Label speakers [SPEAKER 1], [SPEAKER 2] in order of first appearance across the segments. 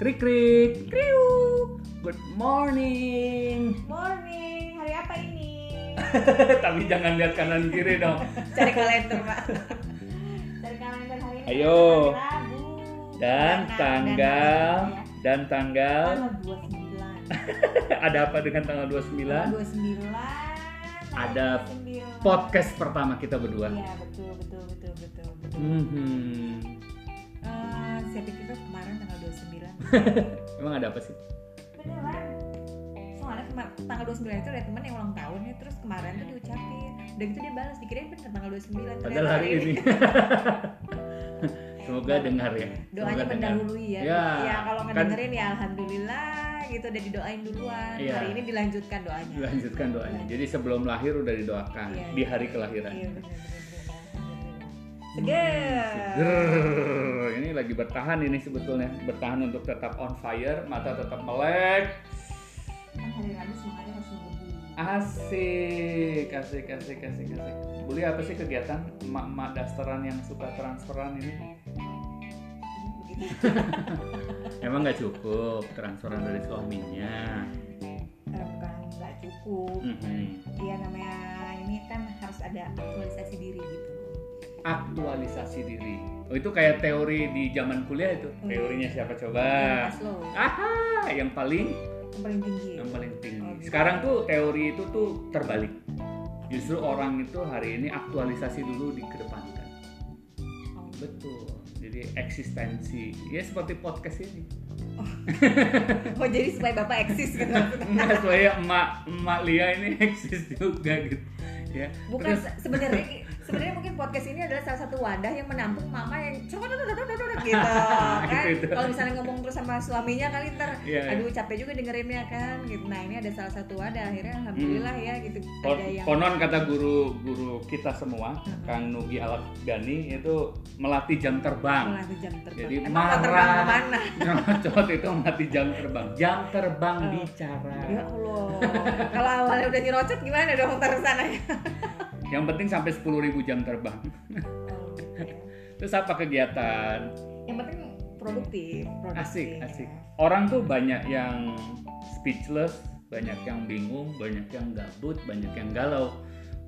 [SPEAKER 1] Krik krik, kriuk. Good morning.
[SPEAKER 2] Morning, hari apa ini?
[SPEAKER 1] Tapi jangan lihat kanan kiri dong.
[SPEAKER 3] Cari kalender, Pak.
[SPEAKER 2] Dari kalender hari ini.
[SPEAKER 1] Ayo.
[SPEAKER 2] hari Rabu.
[SPEAKER 1] Dan
[SPEAKER 3] Nah,
[SPEAKER 2] Karena-
[SPEAKER 1] tanggal
[SPEAKER 2] dan-
[SPEAKER 1] dan
[SPEAKER 2] ya.
[SPEAKER 1] tanggal
[SPEAKER 2] Tanggal 29.
[SPEAKER 1] ada apa dengan tanggal 29?
[SPEAKER 2] 29.
[SPEAKER 1] Ada
[SPEAKER 2] 29.
[SPEAKER 1] Podcast pertama kita berdua.
[SPEAKER 2] Iya, betul, betul, betul, betul. betul.
[SPEAKER 1] Mhm.
[SPEAKER 3] Eh, saya pikir tuh kemarin tanggal 29.
[SPEAKER 1] Emang ada apa sih?
[SPEAKER 2] Beneran?
[SPEAKER 3] Soalnya kemar- tanggal 29 itu ada teman yang ulang tahun ya, terus kemarin tuh diucapin. Dan gitu dia balas, dikirain bener tanggal 29.
[SPEAKER 1] Padahal
[SPEAKER 3] ternyata
[SPEAKER 1] hari ini. Semoga dengar ya. Semoga
[SPEAKER 3] Doanya
[SPEAKER 1] dengar.
[SPEAKER 3] mendahului ya.
[SPEAKER 1] Ya,
[SPEAKER 3] kalau
[SPEAKER 1] kan-
[SPEAKER 3] ngedengerin ya alhamdulillah gitu udah didoain duluan.
[SPEAKER 1] Iya.
[SPEAKER 3] Hari ini dilanjutkan doanya.
[SPEAKER 1] Lanjutkan doanya. Jadi sebelum lahir udah didoakan
[SPEAKER 3] Iya,
[SPEAKER 1] di
[SPEAKER 3] iya.
[SPEAKER 1] hari kelahiran. Hmm,
[SPEAKER 3] Iya, bener, bener, bener. Alhamdulillah. Seger.
[SPEAKER 1] Grrrr, ini lagi bertahan ini sebetulnya bertahan untuk tetap on fire mata tetap melek
[SPEAKER 2] Kan hari Rabu semangatnya harus lebih.
[SPEAKER 1] asik asik asik asik asik Buli apa sih kegiatan emak-emak dasteran yang suka transferan ini
[SPEAKER 3] Begitu.
[SPEAKER 1] Hmm. emang nggak cukup transferan dari suaminya
[SPEAKER 3] Eh, Bukan nggak cukup.
[SPEAKER 1] Mhm.
[SPEAKER 3] Iya namanya ini kan harus ada aktualisasi diri gitu.
[SPEAKER 1] aktualisasi diri oh, itu kayak teori di zaman kuliah itu
[SPEAKER 3] Hmm.
[SPEAKER 1] teorinya siapa coba
[SPEAKER 3] Prioritas lo
[SPEAKER 1] aha yang paling
[SPEAKER 3] yang paling tinggi.
[SPEAKER 1] yang paling tinggi.
[SPEAKER 3] Oke.
[SPEAKER 1] Sekarang tuh teori itu tuh terbalik. Justru orang itu hari ini aktualisasi dulu dikedepankan.
[SPEAKER 3] Oh.
[SPEAKER 1] Betul. Jadi eksistensi. Ya seperti podcast ini.
[SPEAKER 3] Oh jadi supaya bapak eksis gitu.
[SPEAKER 1] Enggak supaya ya, emak emak Lia ini eksis juga gitu. Ya.
[SPEAKER 3] Bukan se- sebenarnya sebenarnya mungkin podcast ini adalah salah satu wadah yang menampung mama yang cuma gitu kan.
[SPEAKER 1] Gitu.
[SPEAKER 3] Kalau misalnya ngomong terus sama suaminya kali ntar
[SPEAKER 1] Iya, iya.
[SPEAKER 3] aduh capek juga dengerinnya kan gitu. Nah, ini ada salah satu wadah akhirnya alhamdulillah ya gitu
[SPEAKER 1] Kon-
[SPEAKER 3] ada yang
[SPEAKER 1] Konon kata guru-guru kita semua,
[SPEAKER 3] Mhm.
[SPEAKER 1] Kang Nugi Alat Dani itu melatih jam terbang.
[SPEAKER 3] melatih jam terbang.
[SPEAKER 1] Jadi
[SPEAKER 3] Emang mau terbang
[SPEAKER 1] marah.
[SPEAKER 3] kemana?
[SPEAKER 1] Nyocot itu melatih jam terbang. Jam terbang
[SPEAKER 3] Oh.
[SPEAKER 1] bicara.
[SPEAKER 3] Ya Allah. Kalau awalnya udah nyerocot gimana dong ntar sana?
[SPEAKER 1] Yang penting sampai 10.000 jam terbang. Terus apa kegiatan?
[SPEAKER 3] yang penting produktif, produktif.
[SPEAKER 1] Asik, asik.
[SPEAKER 3] ya.
[SPEAKER 1] Orang tuh banyak yang speechless, banyak yang bingung, banyak yang gabut, banyak yang galau.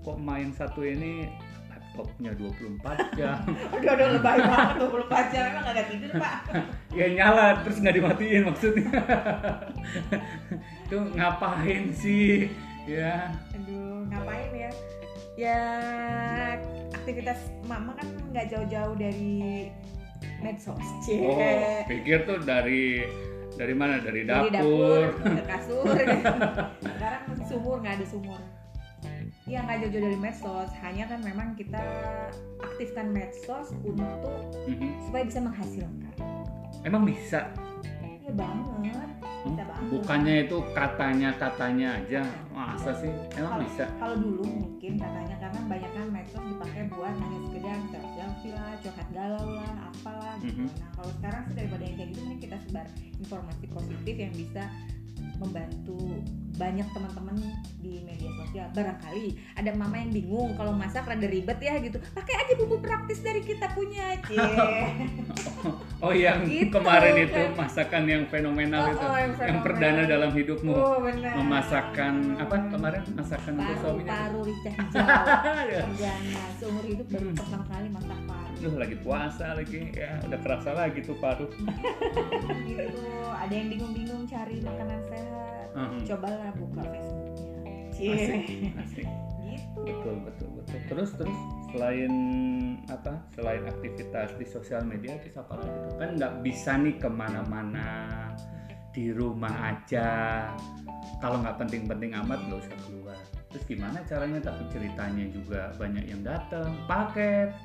[SPEAKER 1] Kok main satu ini laptopnya 24 jam?
[SPEAKER 3] Aduh, aduh lebay banget 24 jam emang agak tidur, Pak.
[SPEAKER 1] ya nyala terus nggak dimatiin maksudnya. Itu ngapain sih? Ya,
[SPEAKER 3] Aduh, ngapain ya? Ya aktivitas mama kan nggak jauh-jauh dari medsos. Cie.
[SPEAKER 1] oh, pikir tuh dari dari mana? Dari
[SPEAKER 3] Dari
[SPEAKER 1] dapur.
[SPEAKER 3] ke kasur. Sekarang sumur nggak ada sumur. Ya nggak jauh-jauh dari medsos, hanya kan memang kita aktifkan medsos untuk
[SPEAKER 1] Mhm.
[SPEAKER 3] supaya bisa menghasilkan.
[SPEAKER 1] Emang bisa?
[SPEAKER 3] Iya banget, bisa banget.
[SPEAKER 1] Hmm, Bukannya itu katanya-katanya aja, masa sih? Emang
[SPEAKER 3] Kalau-
[SPEAKER 1] bisa?
[SPEAKER 3] Kalau dulu mungkin katanya karena banyak kan medsos dipakai buat hanya sekedar selfie lah, curhat galau lah, apalah gitu.
[SPEAKER 1] Mhm.
[SPEAKER 3] Nah kalau sekarang sih daripada yang kayak gitu, mending kita sebar informasi positif yang bisa membantu banyak teman-teman di media sosial. Barangkali ada mama yang bingung kalau masak rada ribet ya gitu. Pakai aja bumbu praktis dari kita punya, cie.
[SPEAKER 1] Oh yang
[SPEAKER 3] Gitu,
[SPEAKER 1] kemarin itu
[SPEAKER 3] kan.
[SPEAKER 1] masakan yang fenomenal itu,
[SPEAKER 3] yang,
[SPEAKER 1] Nah, yang
[SPEAKER 3] fenomenal.
[SPEAKER 1] perdana dalam hidupmu,
[SPEAKER 3] Oh, benar.
[SPEAKER 1] memasakkan apa kemarin masakan untuk suaminya.
[SPEAKER 3] paru-paru rica hijau.
[SPEAKER 1] Ya.
[SPEAKER 3] perdana seumur hidup baru
[SPEAKER 1] Hmm.
[SPEAKER 3] pertama kali masak paru
[SPEAKER 1] Duh lagi puasa lagi, ya udah kerasa lagi tuh paru.
[SPEAKER 3] gitu ada yang bingung-bingung cari makanan sehat
[SPEAKER 1] Mhm.
[SPEAKER 3] cobalah buka Facebooknya
[SPEAKER 1] Asik,
[SPEAKER 3] cie
[SPEAKER 1] asik.
[SPEAKER 3] gitu
[SPEAKER 1] Betul, betul, betul. Terus, terus selain apa? Selain aktivitas di sosial media, terus apa lagi? tuh? Kan nggak bisa nih kemana-mana, di rumah aja. Kalau nggak penting-penting amat, nggak usah keluar. Terus gimana caranya? Tapi ceritanya juga banyak yang datang, paket.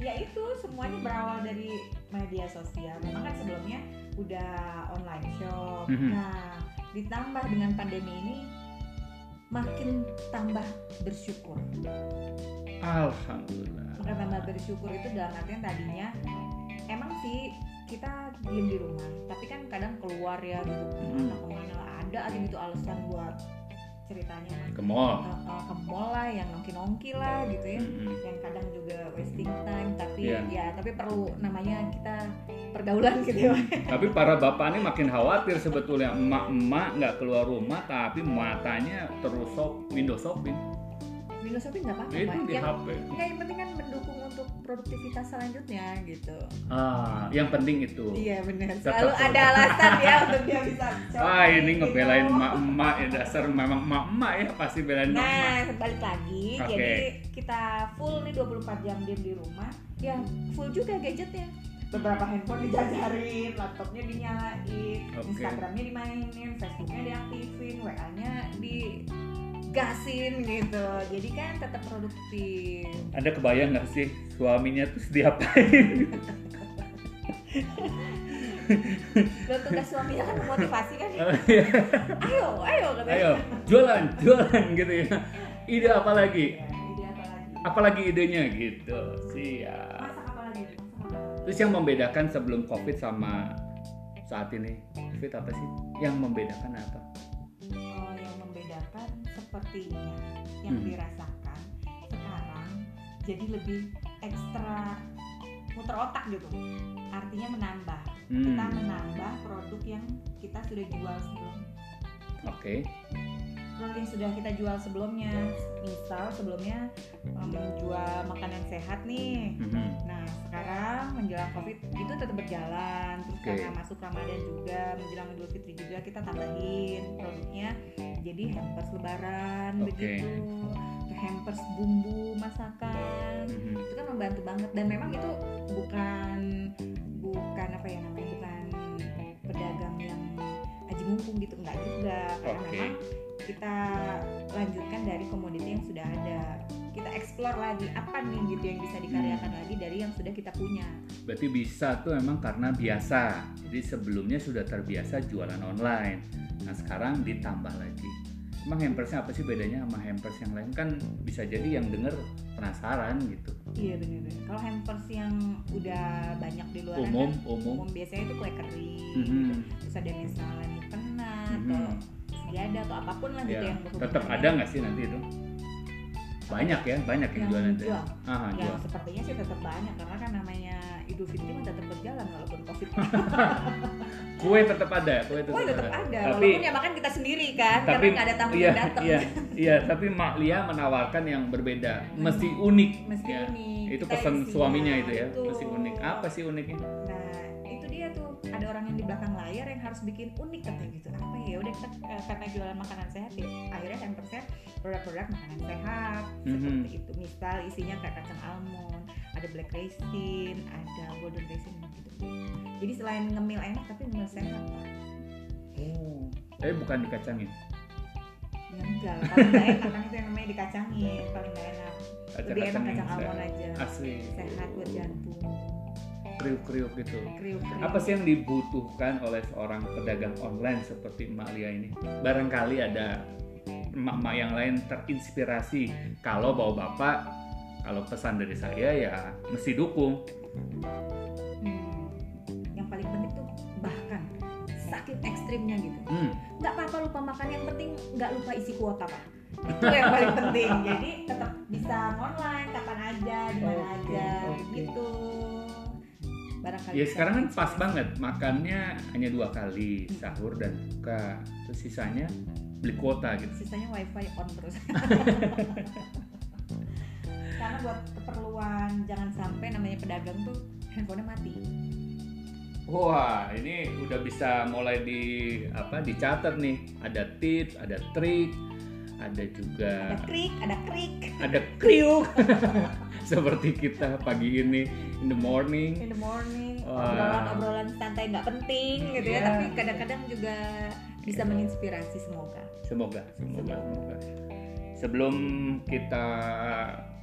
[SPEAKER 3] ya itu semuanya berawal dari media sosial memang kan sebelumnya udah online shop
[SPEAKER 1] Mhm.
[SPEAKER 3] nah ditambah dengan pandemi ini makin tambah bersyukur
[SPEAKER 1] Alhamdulillah.
[SPEAKER 3] Maka tambah bersyukur itu dalam artian tadinya emang sih kita diem di rumah, tapi kan kadang keluar ya gitu
[SPEAKER 1] Hmm.
[SPEAKER 3] kemana kemana lah ada aja gitu alasan buat ceritanya kan
[SPEAKER 1] Ke mall.
[SPEAKER 3] Eh, eh, ke mall lah, yang nongki nongki lah gitu ya,
[SPEAKER 1] Mm-mm.
[SPEAKER 3] yang kadang juga wasting time tapi tapi
[SPEAKER 1] Iya.
[SPEAKER 3] ya tapi perlu namanya kita pergaulan gitu ya Pak.
[SPEAKER 1] Tapi para bapak ini makin khawatir sebetulnya emak-emak nggak keluar rumah tapi matanya terus shop, window shopping.
[SPEAKER 3] Windows shopping nggak apa-apa
[SPEAKER 1] Itu
[SPEAKER 3] Pak.
[SPEAKER 1] di
[SPEAKER 3] yang
[SPEAKER 1] HP.
[SPEAKER 3] nggak yang penting kan mendukung untuk produktivitas selanjutnya gitu
[SPEAKER 1] Ah, yang penting itu.
[SPEAKER 3] iya benar
[SPEAKER 1] Tetap
[SPEAKER 3] selalu
[SPEAKER 1] produktif.
[SPEAKER 3] ada alasan ya untuk dia bisa
[SPEAKER 1] Wah
[SPEAKER 3] shopping,
[SPEAKER 1] Ah, ini ngebelain
[SPEAKER 3] gitu.
[SPEAKER 1] emak-emak ya dasar memang emak-emak ya pasti belain emak.
[SPEAKER 3] Nah, balik lagi.
[SPEAKER 1] Oke.
[SPEAKER 3] Jadi kita full nih 24 jam diem di rumah. Ya, full juga gadgetnya. Beberapa handphone dijajarin, laptopnya dinyalain,
[SPEAKER 1] Oke.
[SPEAKER 3] Instagramnya dimainin, Facebooknya diaktifin, WA-nya digasin gitu. Jadi kan tetap produktif.
[SPEAKER 1] Anda kebayang nggak sih suaminya tuh diapain?
[SPEAKER 3] Lo tugas suaminya kan memotivasi kan. Ayo, ayo katanya.
[SPEAKER 1] Oh, iya. Ayo jualan, jualan gitu ya. Ide apa lagi?
[SPEAKER 3] Ya, ide apa lagi?
[SPEAKER 1] Apalagi idenya gitu. Siap.
[SPEAKER 3] Masak apa lagi? Masak apa lagi?
[SPEAKER 1] Terus yang membedakan sebelum COVID sama saat ini COVID apa sih? Yang membedakan apa?
[SPEAKER 3] Oh, yang membedakan sepertinya yang
[SPEAKER 1] Hmm.
[SPEAKER 3] dirasakan sekarang jadi lebih ekstra muter otak gitu. Artinya menambah.
[SPEAKER 1] Hmm,
[SPEAKER 3] Kita menambah produk yang kita sudah jual sebelum
[SPEAKER 1] Oke.
[SPEAKER 3] produk yang sudah kita jual sebelumnya. Misal sebelumnya em, jual makanan sehat nih.
[SPEAKER 1] Mhm.
[SPEAKER 3] Nah, sekarang menjelang Covid itu tetap berjalan. Terus
[SPEAKER 1] Hmm. Oke.
[SPEAKER 3] karena masuk Ramadan juga, menjelang Idul Fitri juga kita tambahin produknya jadi hampers lebaran
[SPEAKER 1] Oke.
[SPEAKER 3] begitu. Hampers bumbu masakan.
[SPEAKER 1] Mhm.
[SPEAKER 3] Itu kan membantu banget dan memang itu bukan bukan apa ya namanya bukan pedagang yang aji mumpung gitu enggak juga karena
[SPEAKER 1] Oke.
[SPEAKER 3] memang kita lanjutkan dari komoditi yang sudah ada kita explore lagi apa nih gitu yang bisa dikaryakan
[SPEAKER 1] Hmm.
[SPEAKER 3] lagi dari yang sudah kita punya
[SPEAKER 1] Berarti bisa tuh emang karena biasa. Jadi sebelumnya sudah terbiasa jualan online. Nah sekarang ditambah lagi. Emang hampersnya apa sih bedanya sama hampers yang lain kan bisa jadi yang denger penasaran gitu.
[SPEAKER 3] iya benar kalau hampers yang udah banyak di luar
[SPEAKER 1] Umum,
[SPEAKER 3] kan,
[SPEAKER 1] umum.
[SPEAKER 3] biasanya itu kue kering gitu.
[SPEAKER 1] Mhm.
[SPEAKER 3] terus ada misalnya kena atau
[SPEAKER 1] Mhm.
[SPEAKER 3] Nah, ada atau apapun lah gitu
[SPEAKER 1] Ya,
[SPEAKER 3] yang berhubungan
[SPEAKER 1] tetap ada
[SPEAKER 3] dengan-
[SPEAKER 1] nggak sih nanti itu? Banyak ya, banyak yang,
[SPEAKER 3] Yang
[SPEAKER 1] jualan itu.
[SPEAKER 3] jual.
[SPEAKER 1] Ah,
[SPEAKER 3] ya
[SPEAKER 1] jual.
[SPEAKER 3] sepertinya sih tetap banyak karena kan namanya Idul Fitri mah tetap berjalan walaupun covid
[SPEAKER 1] Kue tetap ada, kue tetap,
[SPEAKER 3] Wah tetap
[SPEAKER 1] ada.
[SPEAKER 3] ada,
[SPEAKER 1] Tapi-
[SPEAKER 3] walaupun ya makan kita sendiri kan,
[SPEAKER 1] tapi
[SPEAKER 3] karena nggak ada tamu
[SPEAKER 1] iya,
[SPEAKER 3] yang datang.
[SPEAKER 1] iya, iya, tapi Mak Lia menawarkan yang berbeda,
[SPEAKER 3] Nah,
[SPEAKER 1] mesti
[SPEAKER 3] iya.
[SPEAKER 1] unik.
[SPEAKER 3] Mesti
[SPEAKER 1] ya.
[SPEAKER 3] unik.
[SPEAKER 1] Itu
[SPEAKER 3] kita
[SPEAKER 1] pesan
[SPEAKER 3] isinya,
[SPEAKER 1] suaminya itu ya,
[SPEAKER 3] Iya betul.
[SPEAKER 1] mesti unik. Apa sih uniknya?
[SPEAKER 3] Nah itu dia tuh ada orang yang di belakang layar yang harus bikin unik katanya gitu. Apa ya? Udah kita eh, karena jualan makanan sehat ya, akhirnya yang persen produk-produdak makanan sehat
[SPEAKER 1] Mhm.
[SPEAKER 3] seperti itu. Misal isinya kayak kacang almond, ada black raisin, ada golden raisin gitu. Jadi selain ngemil enak tapi ngemil sehat. Pak. Hmm.
[SPEAKER 1] Oh, tapi bukan dikacangin.
[SPEAKER 3] Ya enggak, lah, paling nggak enak kan itu yang namanya dikacangin, paling nggak enak. Lebih enak
[SPEAKER 1] Kacang-kacang yang
[SPEAKER 3] kacang almond
[SPEAKER 1] sehat.
[SPEAKER 3] aja.
[SPEAKER 1] asli.
[SPEAKER 3] sehat buat jantung
[SPEAKER 1] Kriuk-kriuk gitu.
[SPEAKER 3] kriuk kriuk
[SPEAKER 1] Apa sih yang dibutuhkan oleh seorang pedagang online seperti Mak Lia ini? Barangkali ada emak-emak yang lain terinspirasi. Kalau bawa bapak, kalau pesan dari saya ya mesti dukung.
[SPEAKER 3] Hmm, yang paling penting tuh bahkan sakit ekstrimnya gitu
[SPEAKER 1] Hmm.
[SPEAKER 3] nggak apa-apa lupa makan yang penting nggak lupa isi kuota pak itu yang paling penting jadi tetap bisa online kapan aja di mana
[SPEAKER 1] Oke,
[SPEAKER 3] aja
[SPEAKER 1] oke.
[SPEAKER 3] gitu barangkali
[SPEAKER 1] Ya
[SPEAKER 3] bisa
[SPEAKER 1] sekarang kan
[SPEAKER 3] dicoba.
[SPEAKER 1] pas banget makannya hanya dua kali sahur dan buka. Terus sisanya beli kuota gitu.
[SPEAKER 3] sisanya wifi on terus karena buat keperluan jangan sampai namanya pedagang tuh handphonenya mati
[SPEAKER 1] Wah ini udah bisa mulai di apa dicatat nih. Ada tips, ada trik, ada juga
[SPEAKER 3] ada krik ada krik
[SPEAKER 1] ada kriuk seperti kita pagi ini in the morning.
[SPEAKER 3] in the morning
[SPEAKER 1] Wah.
[SPEAKER 3] obrolan-obrolan santai nggak penting gitu
[SPEAKER 1] Iya.
[SPEAKER 3] ya tapi kadang-kadang juga bisa
[SPEAKER 1] Iya.
[SPEAKER 3] menginspirasi semoga
[SPEAKER 1] Semoga, semoga, semoga. Sebelum kita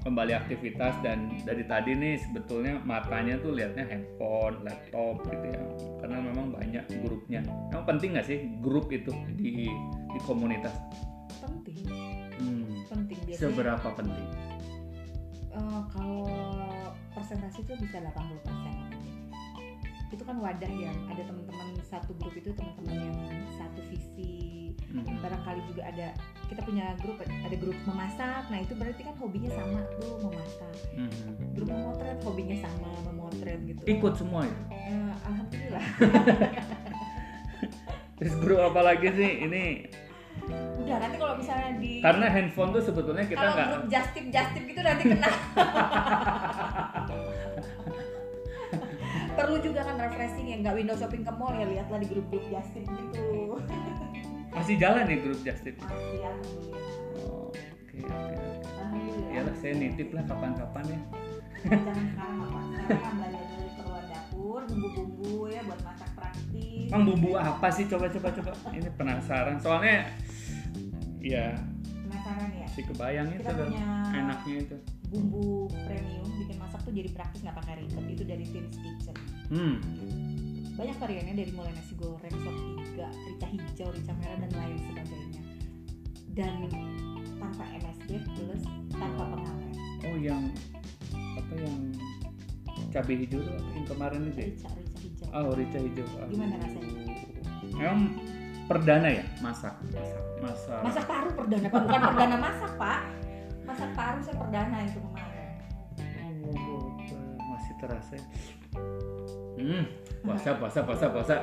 [SPEAKER 1] kembali aktivitas dan dari tadi nih sebetulnya matanya tuh liatnya handphone, laptop gitu ya. Karena memang banyak grupnya. Emang penting nggak sih grup itu di di komunitas?
[SPEAKER 3] penting
[SPEAKER 1] Hmm,
[SPEAKER 3] penting biasanya
[SPEAKER 1] seberapa penting?
[SPEAKER 3] eh, kalau persentase itu bisa 80 itu kan wadah yang ada teman-teman satu grup itu teman-teman yang satu visi
[SPEAKER 1] Hmm.
[SPEAKER 3] barangkali juga ada kita punya grup ada grup memasak nah itu berarti kan hobinya sama tuh memasak
[SPEAKER 1] Hmm.
[SPEAKER 3] grup memotret hobinya sama
[SPEAKER 1] ikut semua ya. itu
[SPEAKER 3] Eh, alhamdulillah
[SPEAKER 1] terus grup apa lagi sih ini
[SPEAKER 3] udah nanti kalau misalnya di
[SPEAKER 1] karena handphone tuh sebetulnya kita
[SPEAKER 3] kalau
[SPEAKER 1] nggak
[SPEAKER 3] grup justip justip gitu nanti kena perlu juga kan refreshing ya nggak window shopping ke mall ya lihatlah di grup-grup justip gitu
[SPEAKER 1] masih jalan ya grup Justin
[SPEAKER 3] Masih, alhamdulillah
[SPEAKER 1] oh, oke oke oke
[SPEAKER 3] alhamdulillah
[SPEAKER 1] ya lah saya nitip lah kapan-kapan ya
[SPEAKER 2] jangan sekarang apa sekarang kan belajar dari keluar dapur bumbu-bumbu ya buat masak praktis
[SPEAKER 1] emang bumbu apa sih coba coba coba ini penasaran soalnya ya
[SPEAKER 2] penasaran ya
[SPEAKER 1] si kebayang itu
[SPEAKER 2] kita
[SPEAKER 1] loh.
[SPEAKER 2] punya
[SPEAKER 1] enaknya itu
[SPEAKER 3] bumbu premium bikin masak tuh jadi praktis nggak pakai ribet itu dari Tim's Kitchen
[SPEAKER 1] hmm
[SPEAKER 3] banyak variannya dari mulai nasi goreng sop iga rica hijau rica merah dan lain sebagainya dan tanpa MSG plus tanpa pengawet
[SPEAKER 1] oh yang apa yang cabai hijau tuh apa yang kemarin itu ya?
[SPEAKER 3] rica rica hijau
[SPEAKER 1] oh rica hijau Ah.
[SPEAKER 3] Gimana rasanya?
[SPEAKER 1] emang perdana ya masak masak masak,
[SPEAKER 3] masak paru perdana pak bukan perdana masak pak masak paru saya perdana itu kemarin
[SPEAKER 1] Oh, masih terasa ya. hmm puasa puasa puasa puasa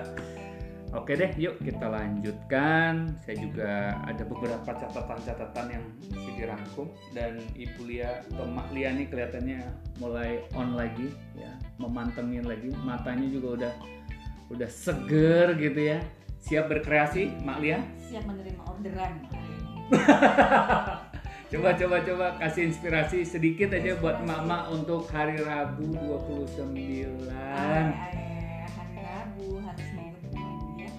[SPEAKER 1] Oke deh, yuk kita lanjutkan. Saya juga ada beberapa catatan-catatan yang mesti dirangkum dan Ibu Lia atau Mak Lia nih kelihatannya mulai on lagi ya, memantengin lagi. Matanya juga udah udah seger gitu ya. Siap berkreasi, Mak Lia.
[SPEAKER 3] siap menerima orderan
[SPEAKER 1] Coba coba coba kasih inspirasi sedikit aja buat mama untuk hari Rabu 29.
[SPEAKER 3] Ay,
[SPEAKER 1] Oke,
[SPEAKER 3] ay, hari Rabu harus mau ya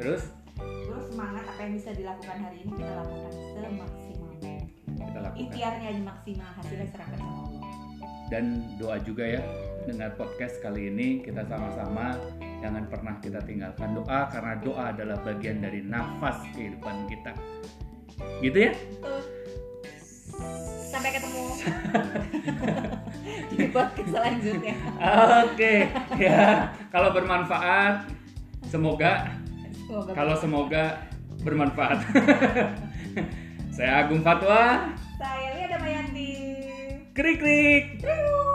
[SPEAKER 1] terus
[SPEAKER 2] terus semangat apa yang bisa dilakukan hari ini kita lakukan semaksimal mungkin.
[SPEAKER 1] kita lakukan.
[SPEAKER 3] ikhtiarnya aja maksimal hasilnya serahkan sama Allah
[SPEAKER 1] Dan doa juga ya dengar podcast kali ini kita sama-sama jangan pernah kita tinggalkan doa karena doa adalah bagian dari nafas kehidupan kita. Gitu ya?
[SPEAKER 3] Betul. sampai ketemu di podcast selanjutnya
[SPEAKER 1] Oke, ya. Kalau bermanfaat semoga
[SPEAKER 3] semoga
[SPEAKER 1] Kalau semoga bermanfaat. Saya Agung Fatwa.
[SPEAKER 2] saya Lia Damayanti
[SPEAKER 1] Krik krik.
[SPEAKER 2] Trus.